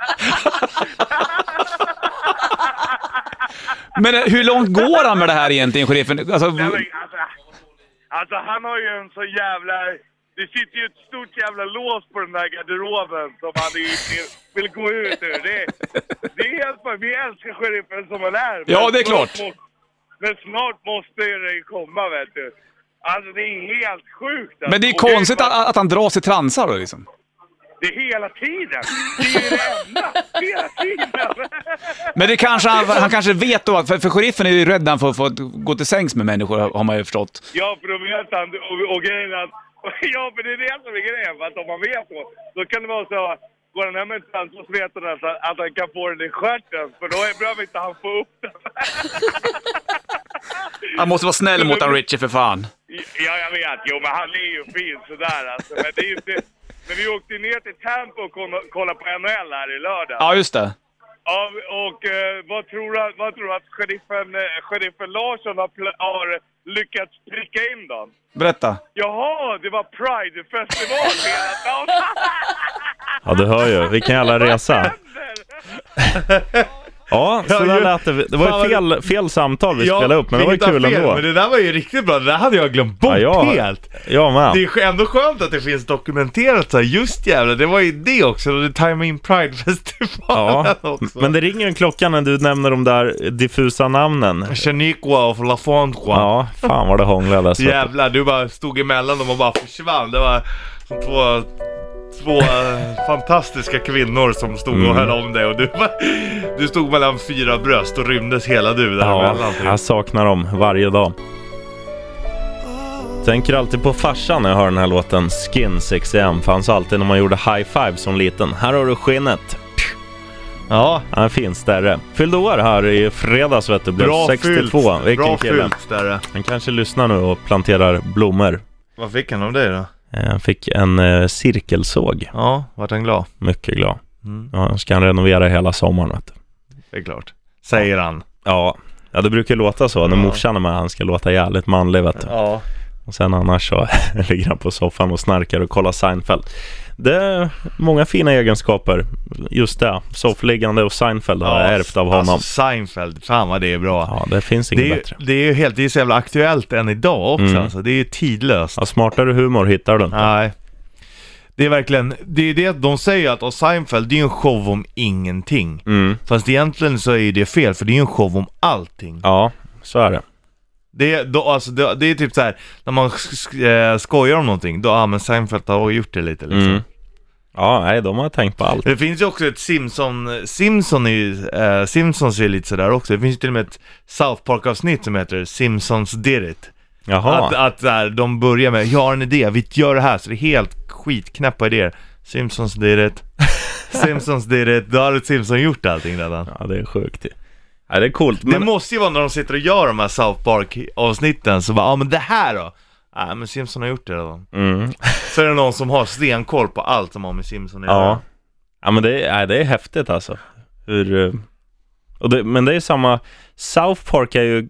Speaker 7: Men eh, hur långt går han med det här egentligen, sheriffen? Alltså,
Speaker 9: Nej, men alltså, alltså han har ju en så jävla... Det sitter ju ett stort jävla lås på den där garderoben som han inte vill gå ut ur. Det, det är helt fan- Vi älskar sheriffen som han är.
Speaker 7: Ja,
Speaker 9: men
Speaker 7: det är klart.
Speaker 9: snart må- Men snart måste ju det komma, vet du. Alltså det är helt sjukt. Alltså.
Speaker 7: men det är
Speaker 9: Och det
Speaker 7: konstigt
Speaker 9: fan-
Speaker 7: att, att han dras i transar då liksom.
Speaker 9: Det är hela tiden. Det är ju det enda. Hela tiden.
Speaker 7: Men det kanske han, han kanske vet då, att- för, för sheriffen är ju rädd när han får, får gå till sängs med människor, har man ju förstått.
Speaker 9: Ja, för då vet han. Och, och grejen är att... Ja, för det är det som är grejen. För att om man vet då, då kan det vara så... Går han hem med en tant så vet han att, han- att han kan få den i stjärten. För då är- behöver inte han få upp den.
Speaker 7: Han måste vara snäll mot han Richie för fan.
Speaker 9: Ja, jag vet. Jo, men han är ju fin sådär alltså. Men det är ju inte... Men vi åkte ner till Tampa och kolla- kollade på NHL här i lördag.
Speaker 7: Ja, just det.
Speaker 9: Ja, och eh, vad tror du vad tror du att sheriffen, eh, sheriffen Larsson har, pl- har lyckats pricka in dem?
Speaker 7: Berätta.
Speaker 9: Jaha, det var Pride-festival hela dagen!
Speaker 1: Ja, du hör ju. Vilken jävla resa. Ja, så
Speaker 2: Ja,
Speaker 1: där
Speaker 2: ju-
Speaker 1: lät det. Det
Speaker 2: Fan,
Speaker 1: var
Speaker 2: vad-
Speaker 1: ju fel, fel samtal vi
Speaker 2: Ja,
Speaker 1: spelade upp, men det var ju
Speaker 2: vilket
Speaker 1: kul
Speaker 2: fel,
Speaker 1: ändå.
Speaker 2: Men det där var ju riktigt bra, det där hade jag glömt bort
Speaker 1: Ja, jag-
Speaker 2: helt.
Speaker 1: Ja,
Speaker 2: Det
Speaker 1: man.
Speaker 2: är ändå skönt att det finns dokumenterat så här, just jävlar, det var ju det också, och det Time In Pride-festivalen
Speaker 1: Ja,
Speaker 2: också.
Speaker 1: men det ringer ju en klocka när du nämner de där diffusa namnen.
Speaker 2: Chaniqua och Lafonqua.
Speaker 1: Ja, fan vad det hånglade. Alltså.
Speaker 2: Jävlar, du bara stod emellan dem och bara försvann. Det var som två, två eh, fantastiska kvinnor som stod
Speaker 1: Mm.
Speaker 2: och höll om dig och du, bara, du stod mellan fyra bröst och rymdes hela du
Speaker 1: Ja, alltså,
Speaker 2: däremellan. typ.
Speaker 1: jag saknar dem varje dag. Tänker alltid på farsan när jag hör den här låten Skin 61. Fanns alltid när man gjorde high five som liten. Här har du skinnet.
Speaker 2: Ja,
Speaker 1: Han finns där. Fyllde år här i fredags vet du. Blev
Speaker 2: bra
Speaker 1: 62.
Speaker 2: fult.
Speaker 1: Vilken
Speaker 2: Bra
Speaker 1: kille.
Speaker 2: fult där. eh.
Speaker 1: Han kanske lyssnar nu och planterar blommor.
Speaker 2: Vad fick han av dig då?
Speaker 1: Eh, Han fick en eh, cirkelsåg.
Speaker 2: Ja, vart han glad?
Speaker 1: Mycket glad.
Speaker 2: Mm.
Speaker 1: Ja, han ska han renovera hela sommaren vet du.
Speaker 2: Det är klart. Säger han.
Speaker 1: Ja. Ja, det brukar låta så. När morsan är med, han ska låta jävligt manlig vet du.
Speaker 2: Ja.
Speaker 1: Och sen annars så ligger han på soffan och snarkar och kollar Seinfeld. Det är många fina egenskaper. Just det, soffliggande och Seinfeld har jag ärvt av honom.
Speaker 2: Alltså Seinfeld, fan vad det är bra.
Speaker 1: ja, det finns inget
Speaker 2: det, är,
Speaker 1: bättre. Mm.
Speaker 2: det är ju helt, det är så jävla aktuellt än idag också alltså. Det är ju tidlöst.
Speaker 1: Ja, smartare humor hittar du inte.
Speaker 2: Nej. Det är verkligen, det är det de säger att och Seinfeld, det är ju en show om ingenting.
Speaker 1: Mm.
Speaker 2: Fast egentligen så är ju det fel, för det är ju en show om allting.
Speaker 1: Ja, så är det.
Speaker 2: Det, är- då, alltså, det, det är typ så här när man sk- sk- eh, skojar om någonting, då, ja men Seinfeld har gjort det lite liksom.
Speaker 1: Mm. Ja, nej, de har tänkt på allt.
Speaker 2: Det finns ju också ett Simpson, Simpson är ju, eh, Simpsons är lite sådär också. Det finns ju till och med ett South Park-avsnitt som heter Simpsons did it. Att,
Speaker 1: Jaha,
Speaker 2: att där, de börjar med, jag har en idé, vi gör det här, så det är helt skitknäppa idéer. Simpsons did it. Simpsons did it. Då hade Simpson gjort allting redan.
Speaker 1: ja, det är sjukt. Ja, det är coolt.
Speaker 2: Det
Speaker 1: Men...
Speaker 2: måste ju vara när de sitter och gör de här South Park-avsnitten, så bara, ja ah, men det här då? Nej men Simpson har gjort det redan.
Speaker 1: Mm.
Speaker 2: Så är det någon som har stenkoll på allt som har med Simpson att göra.
Speaker 1: Ja. ja, men det är, nej, det är häftigt alltså. Hur, eh, och det, men det är samma, South Park är ju,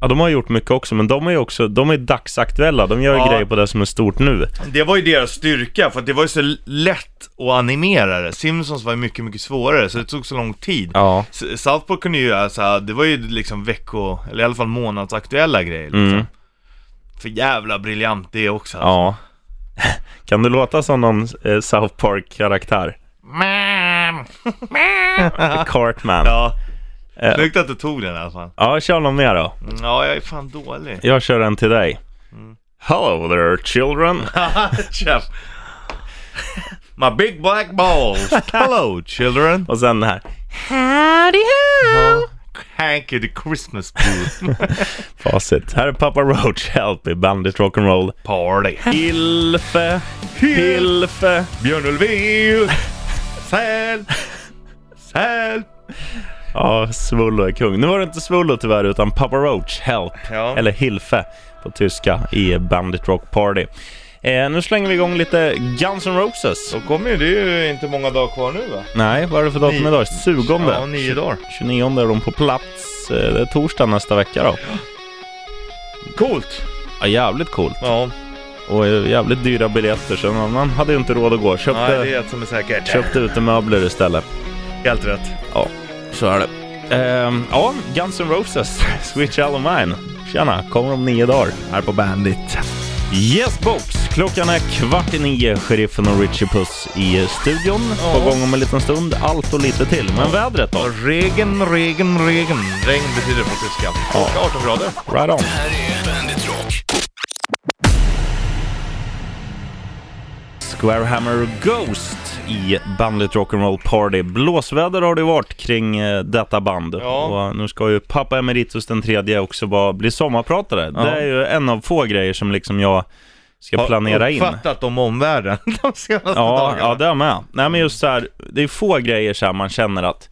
Speaker 1: ja de har gjort mycket också, men de är ju också, de är dagsaktuella. De gör ju
Speaker 2: Ja.
Speaker 1: grejer på det som är stort nu.
Speaker 2: Det var ju deras styrka, för att det var ju så lätt att animera det. Simpsons var ju mycket, mycket svårare, så det tog så lång tid.
Speaker 1: Ja.
Speaker 2: S- South Park kunde ju göra så här, det var ju liksom vecko, eller i alla fall månadsaktuella grejer liksom.
Speaker 1: Mm.
Speaker 2: För jävla briljant det också. alltså.
Speaker 1: Ja. Kan du låta som någon eh, South Park-karaktär? Cartman. Ja.
Speaker 2: Ja. Snyggt att du tog den i alla fall.
Speaker 1: kör någon mer då.
Speaker 2: Mm, Ja, jag är fan dålig.
Speaker 1: Jag kör en till dig. Mm. Hello there children.
Speaker 2: Chef. My big black balls. Hello children.
Speaker 1: Och sen den här.
Speaker 2: Hanky the Christmas booth
Speaker 1: Facit. Här är Papa Roach, Help i Bandit Rock'n'Roll.
Speaker 2: party.
Speaker 1: Ilfe, Hilfe.
Speaker 2: Björn Ulvaeus. Säl. Säl.
Speaker 1: Ja, Svullo är kung. Nu var det inte Svullo tyvärr, utan Papa Roach, Help,
Speaker 2: Ja.
Speaker 1: eller Hilfe på tyska, i Bandit Rock Party. Eh, nu slänger vi igång lite Guns N' Roses.
Speaker 2: Då kommer ju, det är ju inte många dagar kvar nu va?
Speaker 1: Nej, vad är det för datum
Speaker 2: Ni-
Speaker 1: idag? 20?
Speaker 2: Ja, nio dagar.
Speaker 1: 29 är de på plats. Eh, Det är torsdag nästa vecka då.
Speaker 2: Coolt!
Speaker 1: Ja, jävligt coolt.
Speaker 2: Ja,
Speaker 1: Och eh, jävligt dyra biljetter, så man hade ju inte råd att gå. Köpte,
Speaker 2: nej, det är ett som är säkert.
Speaker 1: köpte utemöbler istället.
Speaker 2: Helt rätt.
Speaker 1: Ja, så är det. Ehm, ja, Guns N' Roses, Sweet Shallow Mine. Tjena, kommer om nio dagar här på Bandit. Yes box! Klockan är kvart i nio. Sheriffen och Richie Puss i studion. På gång om en liten stund. Allt och lite till. Men vädret då?
Speaker 2: Regen, regen, regen. Regn betyder på tyska. Och 18 grader.
Speaker 1: Right on.
Speaker 10: Här är Bandit Rock.
Speaker 1: Squarehammer Ghost i bandet Rock'n'Roll Party. Blåsväder har det varit kring eh, detta band.
Speaker 2: Ja.
Speaker 1: Och eh, nu ska ju pappa Emeritus den tredje också bara bli sommarpratare. Det är ju en av få grejer som liksom jag ska planera in.
Speaker 2: uppfattat om omvärlden de senaste
Speaker 1: Ja,
Speaker 2: dagarna.
Speaker 1: ja, det är med. Nej men just så här, det är få grejer så här man känner att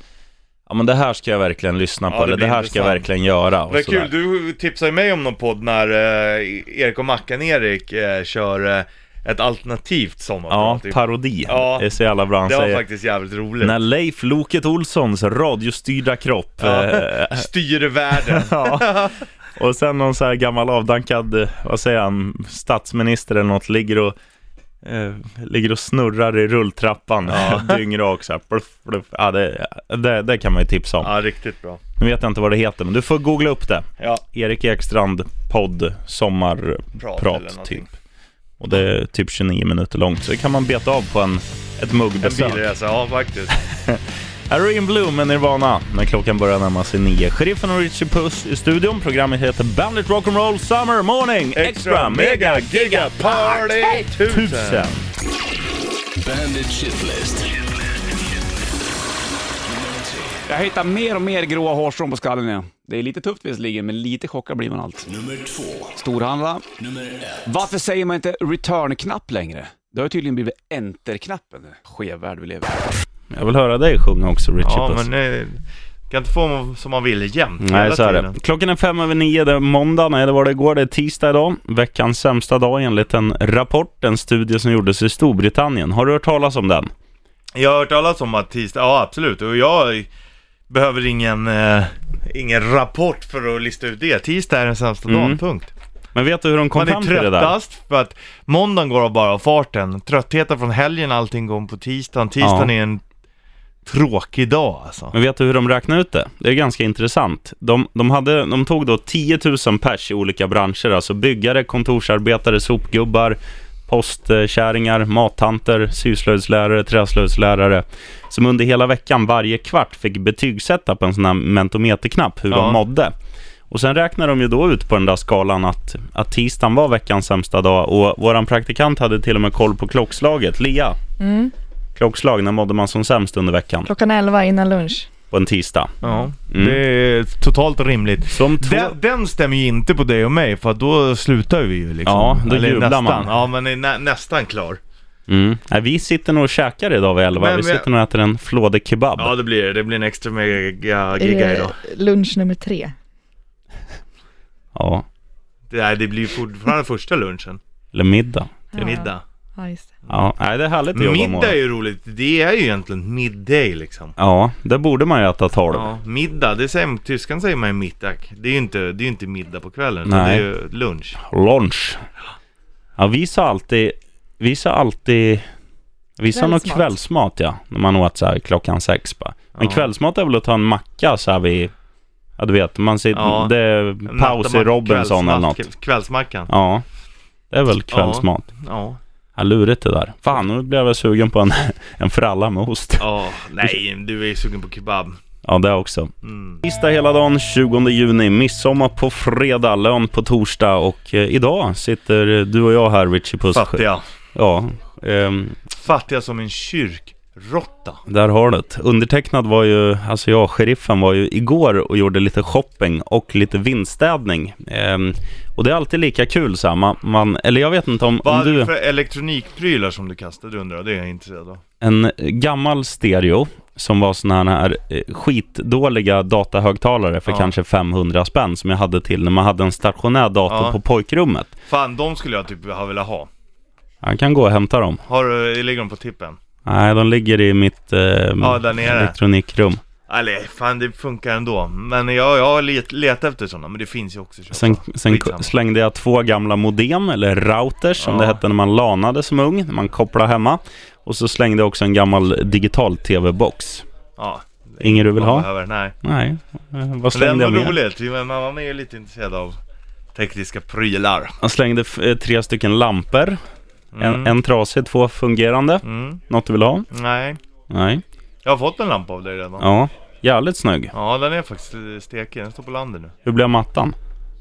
Speaker 1: Ja men det här ska jag verkligen lyssna på,
Speaker 2: det
Speaker 1: eller det
Speaker 2: blir
Speaker 1: här ska jag
Speaker 2: intressant.
Speaker 1: verkligen göra och
Speaker 2: Vad
Speaker 1: så
Speaker 2: kul,
Speaker 1: där.
Speaker 2: du tipsade ju mig om någon podd när eh, Erik och Mackan Erik eh, kör eh, ett alternativt
Speaker 1: Ja,
Speaker 2: sommarprat. typ.
Speaker 1: parodi.
Speaker 2: Ja.
Speaker 1: Det är så jävla bra han
Speaker 2: det var
Speaker 1: säger.
Speaker 2: faktiskt jävligt roligt.
Speaker 1: När Leif Loket Olssons radiostyrda kropp eh,
Speaker 2: Styr världen.
Speaker 1: Ja. Och sen någon så här gammal avdankad, eh, vad säger han, statsminister eller något, ligger och, eh, ligger och snurrar i rulltrappan dyngrak så här. Pluff, pluff. Ja, det, det, det kan man ju tipsa om.
Speaker 2: ja, riktigt bra.
Speaker 1: Nu vet jag inte vad det heter, men du får googla upp det.
Speaker 2: Ja,
Speaker 1: Erik Ekstrand podd
Speaker 2: Prat
Speaker 1: sommarprat
Speaker 2: eller någonting.
Speaker 1: typ. Och det är typ 29 minuter långt, så det kan man beta av på en, ett
Speaker 2: en
Speaker 1: muggbesök.
Speaker 2: bilresa, alltså. ja faktiskt.
Speaker 1: Här är In Bloom med Nirvana när klockan börjar närma sig nio. Sheriffen och Richie Puss i studion. Programmet heter Bandit Rock'n'Roll Summer Morning Extra, Mega Giga
Speaker 2: Party
Speaker 1: 1000.
Speaker 2: tusen!
Speaker 10: Bandit Shitlist.
Speaker 7: Jag hittar mer och mer gråa hårstrån på skallen igen. Det är lite tufft visserligen, men lite chockad blir man allt.
Speaker 10: Nummer två.
Speaker 7: Storhandla.
Speaker 10: Nummer ett.
Speaker 7: Varför säger man inte return-knapp längre? Det har ju tydligen blivit enter-knappen. Skev värld vi lever i.
Speaker 1: Jag vill höra dig sjunga också Richie
Speaker 2: Ja,
Speaker 1: Puss.
Speaker 2: men eh, kan inte få som man vill jämt
Speaker 1: Nej,
Speaker 2: hela
Speaker 1: så är det.
Speaker 2: tiden.
Speaker 1: Klockan är fem över nio, det är måndag. Nej, det var det igår. Det är tisdag idag. Veckans sämsta dag enligt en rapport, en studie som gjordes i Storbritannien. Har du hört talas om den?
Speaker 2: Jag har hört talas om att tisdag, ja absolut, och jag behöver ingen, eh, ingen rapport för att lista ut det. Tisdag är den sämsta dagen, punkt.
Speaker 1: Men vet du hur de Mm. kom
Speaker 2: Man är
Speaker 1: fram till det där?
Speaker 2: tröttast för att måndagen går av bara av farten. Tröttheten från helgen, allting går på tisdagen. Tisdagen
Speaker 1: Ja.
Speaker 2: är en tråkig dag alltså.
Speaker 1: Men vet du hur de räknade ut det? Det är ganska intressant. De, de, hade, de tog då 10 000 pers i olika branscher, alltså byggare, kontorsarbetare, sopgubbar, postkärringar, mattanter, syslöjdslärare, träslöjdslärare, som under hela veckan varje kvart fick betygsätta på en sån här mentometerknapp hur
Speaker 2: Ja.
Speaker 1: de mådde. Och sen räknade de ju då ut på den där skalan att, att tisdagen var veckans sämsta dag och våran praktikant hade till och med koll på klockslaget. Lea, klockslag, när mådde man som sämst under veckan?
Speaker 11: Klockan 11 innan lunch.
Speaker 1: På en tisdag.
Speaker 2: Ja, det är totalt rimligt.
Speaker 1: Som Mm. två...
Speaker 2: Den, den stämmer ju inte på dig och mig för att då slutar vi ju liksom.
Speaker 1: Ja, då jublar
Speaker 2: nästan.
Speaker 1: man.
Speaker 2: Ja, men är nä, nästan klar.
Speaker 1: Mm. Nej, vi sitter nog och käkar idag vid elva. Vi
Speaker 2: Men vi-
Speaker 1: sitter nog och äter en flådig kebab.
Speaker 2: Ja, det blir det. Det blir en extra mega
Speaker 11: Är
Speaker 2: giga
Speaker 11: det
Speaker 2: idag.
Speaker 11: Eh, lunch nummer tre?
Speaker 1: Ja.
Speaker 2: Det, nej, det blir fortfarande första lunchen.
Speaker 1: Eller middag.
Speaker 2: Till middag.
Speaker 11: Ja, just det.
Speaker 1: Ja, nej, det är härligt att jobba
Speaker 2: Middag är
Speaker 1: morgon.
Speaker 2: ju roligt. Det är ju egentligen midday liksom.
Speaker 1: Ja, det borde man ju äta tolv.
Speaker 2: Ja, middag. Det säger, tyskan säger man ju middag. Det är ju inte, det är ju inte middag på kvällen. utan
Speaker 1: Nej.
Speaker 2: Det är ju lunch.
Speaker 1: Lunch. Ja, vi sa alltid... Vi sa alltid... Vi sa nog
Speaker 11: Kvällsmat.
Speaker 1: kvällsmat, ja. När man åt så här klockan sex bara. Men kvällsmat är väl att ta en macka så här vid... Ja, du vet. Man sitter...
Speaker 2: Ja.
Speaker 1: Det är paus i
Speaker 2: Nattamack-
Speaker 1: Robinson eller
Speaker 2: kvällsmack-
Speaker 1: något.
Speaker 2: Kvällsmackan.
Speaker 1: Ja. Det är väl kvällsmat.
Speaker 2: Ja.
Speaker 1: Ja, lurigt det där. Fan, nu blev jag sugen på en, en fralla med ost.
Speaker 2: Ja, nej, du är ju sugen på kebab. Mm.
Speaker 1: Ja, det också. Tisdag hela dagen, 20 juni, midsommar på fredag, lön på torsdag och eh, idag sitter eh, du och jag här, Richie Puss.
Speaker 2: Fattiga.
Speaker 1: Ja, ehm,
Speaker 2: Fattiga som en kyrkrotta.
Speaker 1: där har du det. Undertecknad var ju, alltså jag, sheriffen, var ju igår och gjorde lite shopping och lite vinstädning. Ehm, och det är alltid lika kul så här. Man, man, eller jag vet inte om,
Speaker 2: Vad
Speaker 1: om
Speaker 2: hade du
Speaker 1: du...
Speaker 2: för elektronikprylar som du kastade undrar jag? Det är jag intresserad av.
Speaker 1: En gammal stereo som var såna här eh, skitdåliga datahögtalare för
Speaker 2: Ja.
Speaker 1: kanske 500 spänn som jag hade till när man hade en stationär dator
Speaker 2: Ja.
Speaker 1: på pojkrummet.
Speaker 2: Fan, de skulle jag typ ha velat ha.
Speaker 1: Han kan gå och hämta dem.
Speaker 2: Har, du- ligger de på tippen?
Speaker 1: Nej, de ligger i mitt eh,
Speaker 2: Ja, där nere.
Speaker 1: elektronikrum.
Speaker 2: Eller fan det funkar ändå. Men jag, jag har let, letat efter sådana, men det finns ju också. att köpa.
Speaker 1: Sen, sen
Speaker 2: Skitsamma.
Speaker 1: slängde jag två gamla modem, eller routers som
Speaker 2: Ja.
Speaker 1: det hette när man lanade som ung, när man kopplade hemma. Och så slängde jag också en gammal digital tv-box.
Speaker 2: Ja.
Speaker 1: Ingen du vill
Speaker 2: Man
Speaker 1: ha?
Speaker 2: behöver- nej.
Speaker 1: Nej. Eh, Vad
Speaker 2: Men det är
Speaker 1: slängde
Speaker 2: ändå
Speaker 1: jag mer?
Speaker 2: roligt, men man är ju lite intresserad av tekniska prylar.
Speaker 1: Jag slängde f- eh, tre stycken lampor. En,
Speaker 2: Mm.
Speaker 1: en trasig, två fungerande.
Speaker 2: Mm.
Speaker 1: Något du vill ha?
Speaker 2: Nej.
Speaker 1: Nej.
Speaker 2: Jag har fått en lampa av dig redan.
Speaker 1: Ja, jävligt snygg.
Speaker 2: Ja, den är faktiskt eh, stekig. Den står på landet nu.
Speaker 1: Hur blev mattan?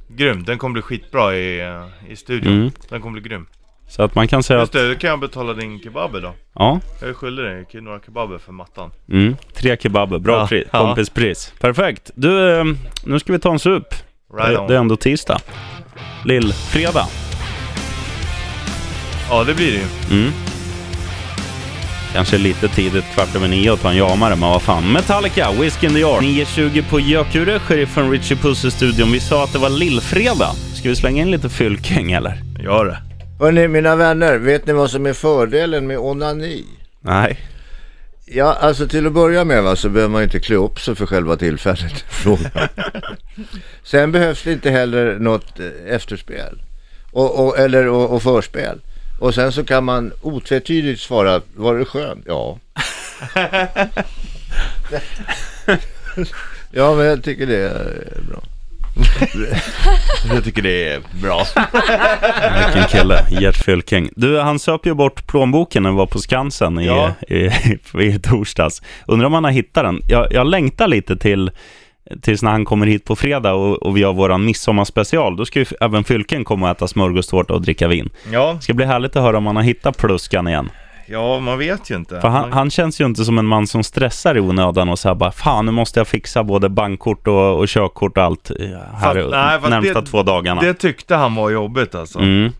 Speaker 2: Grym. Den kommer bli skitbra i, eh, i studion.
Speaker 1: Mm.
Speaker 2: Den kommer bli grym.
Speaker 1: Så att man kan säga
Speaker 2: Just
Speaker 1: att...
Speaker 2: det, då kan jag betala din kebab idag.
Speaker 1: Ja.
Speaker 2: Jag är skyldig dig några kebaber för mattan.
Speaker 1: Mm, tre kebaber, bra
Speaker 2: Ja,
Speaker 1: pris,
Speaker 2: ja.
Speaker 1: kompispris. Perfekt. Du, eh, nu ska vi ta en sup.
Speaker 2: Right
Speaker 1: det,
Speaker 2: on.
Speaker 1: det är ändå tisdag. Lill-fredag.
Speaker 2: Ja, det blir det ju.
Speaker 1: Mm. Kanske lite tidigt, kvart över nio, att ta en jamare, men vad fan. Metallica, Whiskey in the Yard. 9.20 på Gökure, sheriffen Richie Puss i studion. Vi sa att det var lillfredag. Ska vi slänga in lite fylking eller?
Speaker 2: Gör det.
Speaker 5: Hörrni, mina vänner, vet ni vad som är fördelen med onani?
Speaker 1: Nej.
Speaker 5: Ja, alltså till att börja med va, så behöver man ju inte klä upp sig för själva tillfället. i fråga. Sen behövs det inte heller något eh, efterspel. Och, och, eller och, och förspel. Och sen så kan man otvetydigt svara, var det skönt? Ja. ja, men jag tycker det är bra.
Speaker 2: jag tycker det är bra.
Speaker 1: Vilken kille, Gert Fylking. Du, han söp ju bort plånboken när vi var på Skansen i,
Speaker 2: Ja.
Speaker 1: i, i torsdags. Undrar om han har hittat den. Jag, jag längtar lite till tills när han kommer hit på fredag och, och vi gör våran midsommarspecial. Då ska ju f- även Fylking komma och äta smörgåstårta och dricka vin.
Speaker 2: Ja.
Speaker 1: Det ska bli härligt att höra om han har hittat pluskan igen.
Speaker 2: Ja, man vet ju inte.
Speaker 1: För han, han känns ju inte som en man som stressar i onödan och så här bara Fan, nu måste jag fixa både bankkort och, och körkort och allt eh, här
Speaker 2: Fast- nej, fast
Speaker 1: närmsta
Speaker 2: det-
Speaker 1: två dagarna.
Speaker 2: Det tyckte han var jobbigt alltså.
Speaker 1: Mm.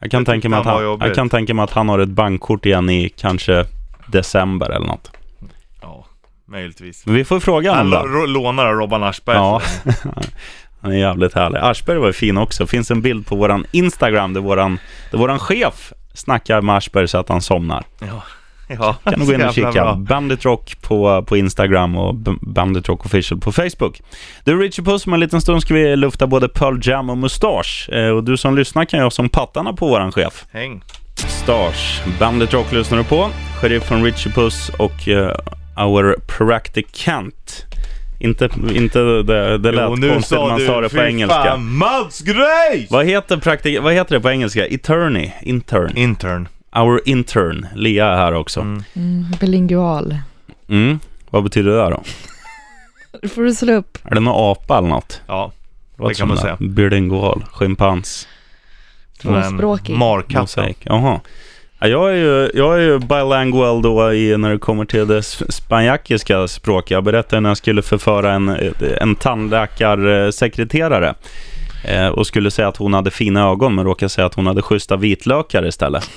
Speaker 1: Jag kan, tänka mig att
Speaker 2: han var
Speaker 1: han,
Speaker 2: jobbigt.
Speaker 1: jag kan tänka mig att han har ett bankkort igen i kanske december eller något.
Speaker 2: Ja, möjligtvis.
Speaker 1: Men vi får fråga
Speaker 2: Han
Speaker 1: honom då.
Speaker 2: lo- lånar Robban Aschberg.
Speaker 1: Ja, han är jävligt härlig. Aschberg var ju fin också. finns en bild på våran Instagram där våran, där våran chef snackar med Aschberg så att han somnar.
Speaker 2: Ja. Ja,
Speaker 1: Kan du gå in och
Speaker 2: så jävla
Speaker 1: kika.
Speaker 2: bra.
Speaker 1: Bandit Rock på, på Instagram och B- Bandit Rock Official på Facebook. Du Richie Puss, om en liten stund ska vi lufta både Pearl Jam och Mustasch. Eh, och du som lyssnar kan göra som pattarna på våran chef.
Speaker 2: Häng.
Speaker 1: Stars. Bandet Rock lyssnar du på. Sheriffen Richie Puss och eh, Our Practicant. Inte, inte det, det lät
Speaker 2: Jo, nu
Speaker 1: konstigt när
Speaker 2: sa
Speaker 1: man
Speaker 2: du,
Speaker 1: sa det
Speaker 2: fy
Speaker 1: på engelska.
Speaker 2: fan, Mats Grejs!
Speaker 1: Vad heter, praktik- vad heter det på engelska? Eternity? Intern?
Speaker 2: Intern.
Speaker 1: Our intern. Lea är här också. Mm.
Speaker 11: Mm, bilingual.
Speaker 1: Vad betyder det där då?
Speaker 11: Det får du slå upp.
Speaker 1: Är det någon apa eller något?
Speaker 2: Ja,
Speaker 1: Låter
Speaker 2: det
Speaker 1: som
Speaker 2: kan man
Speaker 1: där.
Speaker 2: säga.
Speaker 1: Bilingual, schimpans.
Speaker 11: Tvåspråkig.
Speaker 2: Markatt.
Speaker 1: Mosaik. Jaha. Ja, Jag är, ju, jag är ju bilingual då i, när det kommer till det s- spanjackiska språket. Jag berättade när jag skulle förföra en, en tandläkarsekreterare eh, och skulle säga att hon hade fina ögon men råkade säga att hon hade schyssta vitlökar istället.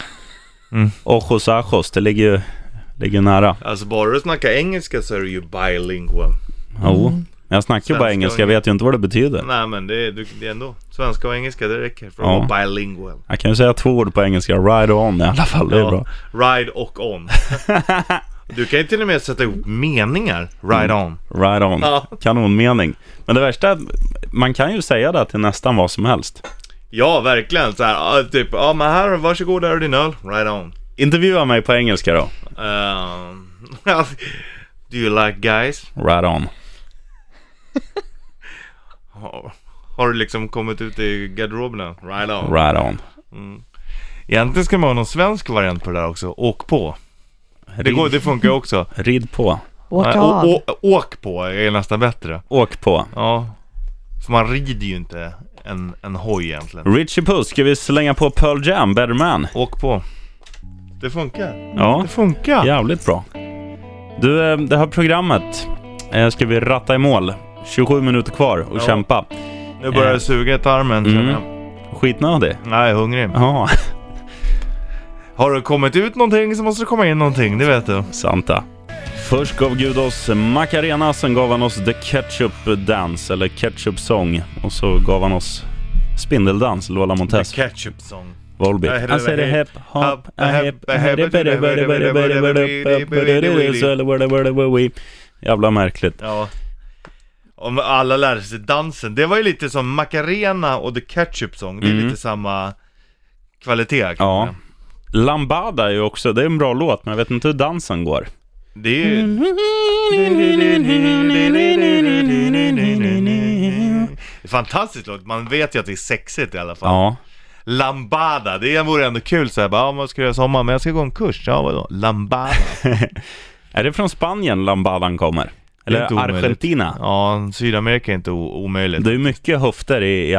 Speaker 2: Mm.
Speaker 1: Ojos ajos, det ligger ju ligger nära.
Speaker 2: Alltså bara du snackar engelska så är du ju bilingual.
Speaker 1: Jo, men jag snackar ju bara
Speaker 2: Svenska
Speaker 1: engelska,
Speaker 2: och
Speaker 1: jag vet ju inte vad det betyder.
Speaker 2: Nej men det är, du- det är ändå svenska och engelska, det räcker för att
Speaker 1: Ja.
Speaker 2: vara bilingual.
Speaker 1: Jag kan ju säga två ord på engelska, ride on i alla fall, det är bra.
Speaker 2: Ride och on. du kan ju till och med sätta ihop meningar. Ride
Speaker 1: Mm.
Speaker 2: on.
Speaker 1: Right on.
Speaker 2: Ja.
Speaker 1: Kanonmening. Men det värsta, är att man kan ju säga det till nästan vad som helst.
Speaker 2: Ja, verkligen. Så här, ja, typ, ja men här, varsågod, här är din öl. Ride on.
Speaker 1: Intervjua mig på engelska då.
Speaker 2: Ehm, do you like guys?
Speaker 1: Right on.
Speaker 2: Har, har du liksom kommit ut i garderoberna? Ride on.
Speaker 1: Right on.
Speaker 2: Mm. Egentligen ska man ha någon svensk variant på det där också. Åk på. Det, går, det funkar ju också.
Speaker 1: Rid på.
Speaker 11: Åka
Speaker 2: Nej, å-
Speaker 11: av.
Speaker 2: å- åk på är nästan bättre.
Speaker 1: Åk på.
Speaker 2: Ja. För man rider ju inte en, en hoj egentligen.
Speaker 1: Richie Puss, ska vi slänga på Pearl Jam, Better Man?
Speaker 2: Åk på. Det funkar.
Speaker 1: Ja,
Speaker 2: Det funkar.
Speaker 1: jävligt bra. Du, eh, det här programmet eh, ska vi ratta i mål. 27 minuter kvar och
Speaker 2: Ja.
Speaker 1: kämpa.
Speaker 2: Nu börjar
Speaker 1: Eh.
Speaker 2: det suga i tarmen
Speaker 1: Mm.
Speaker 2: känner jag.
Speaker 1: Skitnödig.
Speaker 2: Nej, jag är hungrig.
Speaker 1: Ja,
Speaker 2: Har det kommit ut någonting så måste det komma in någonting, det vet du.
Speaker 1: Santa. Först gav Gud oss Macarena, sen gav han oss The Ketchup Dance, eller Ketchup Song. Och så gav han oss Spindeldans, Lola Montez,
Speaker 2: Ketchup song.
Speaker 1: Volbeat.
Speaker 2: Jag hade-
Speaker 1: Han säger hep, hop, a hep, a hep, a hep, a hep, a hep, a hep, a hep, a hep, a hep, a hep, a hep, a hep, a hep, a hep, a hep, a hep, jävla märkligt.
Speaker 2: Ja. Om alla lärde sig dansen. Det var ju lite som Macarena och The Ketchup Song. Det är
Speaker 1: Mm.
Speaker 2: lite samma kvalitet. kan man
Speaker 1: Ja.
Speaker 2: säga.
Speaker 1: Lambada är ju också, det är en bra låt, men jag vet inte hur dansen går.
Speaker 2: Det är ju... Fantastiskt låt. Man vet ju att det är sexigt i alla fall.
Speaker 1: Ja.
Speaker 2: Lambada, det vore ändå kul såhär bara, ja, vad ska jag göra i sommar? Men jag ska gå en kurs. Ja, vadå? Lambada.
Speaker 1: Är det från Spanien Lambadan kommer?
Speaker 2: Det är
Speaker 1: Eller
Speaker 2: inte omöjligt.
Speaker 1: Argentina?
Speaker 2: Ja, Sydamerika är inte o- omöjligt.
Speaker 1: Det är mycket höfter i, i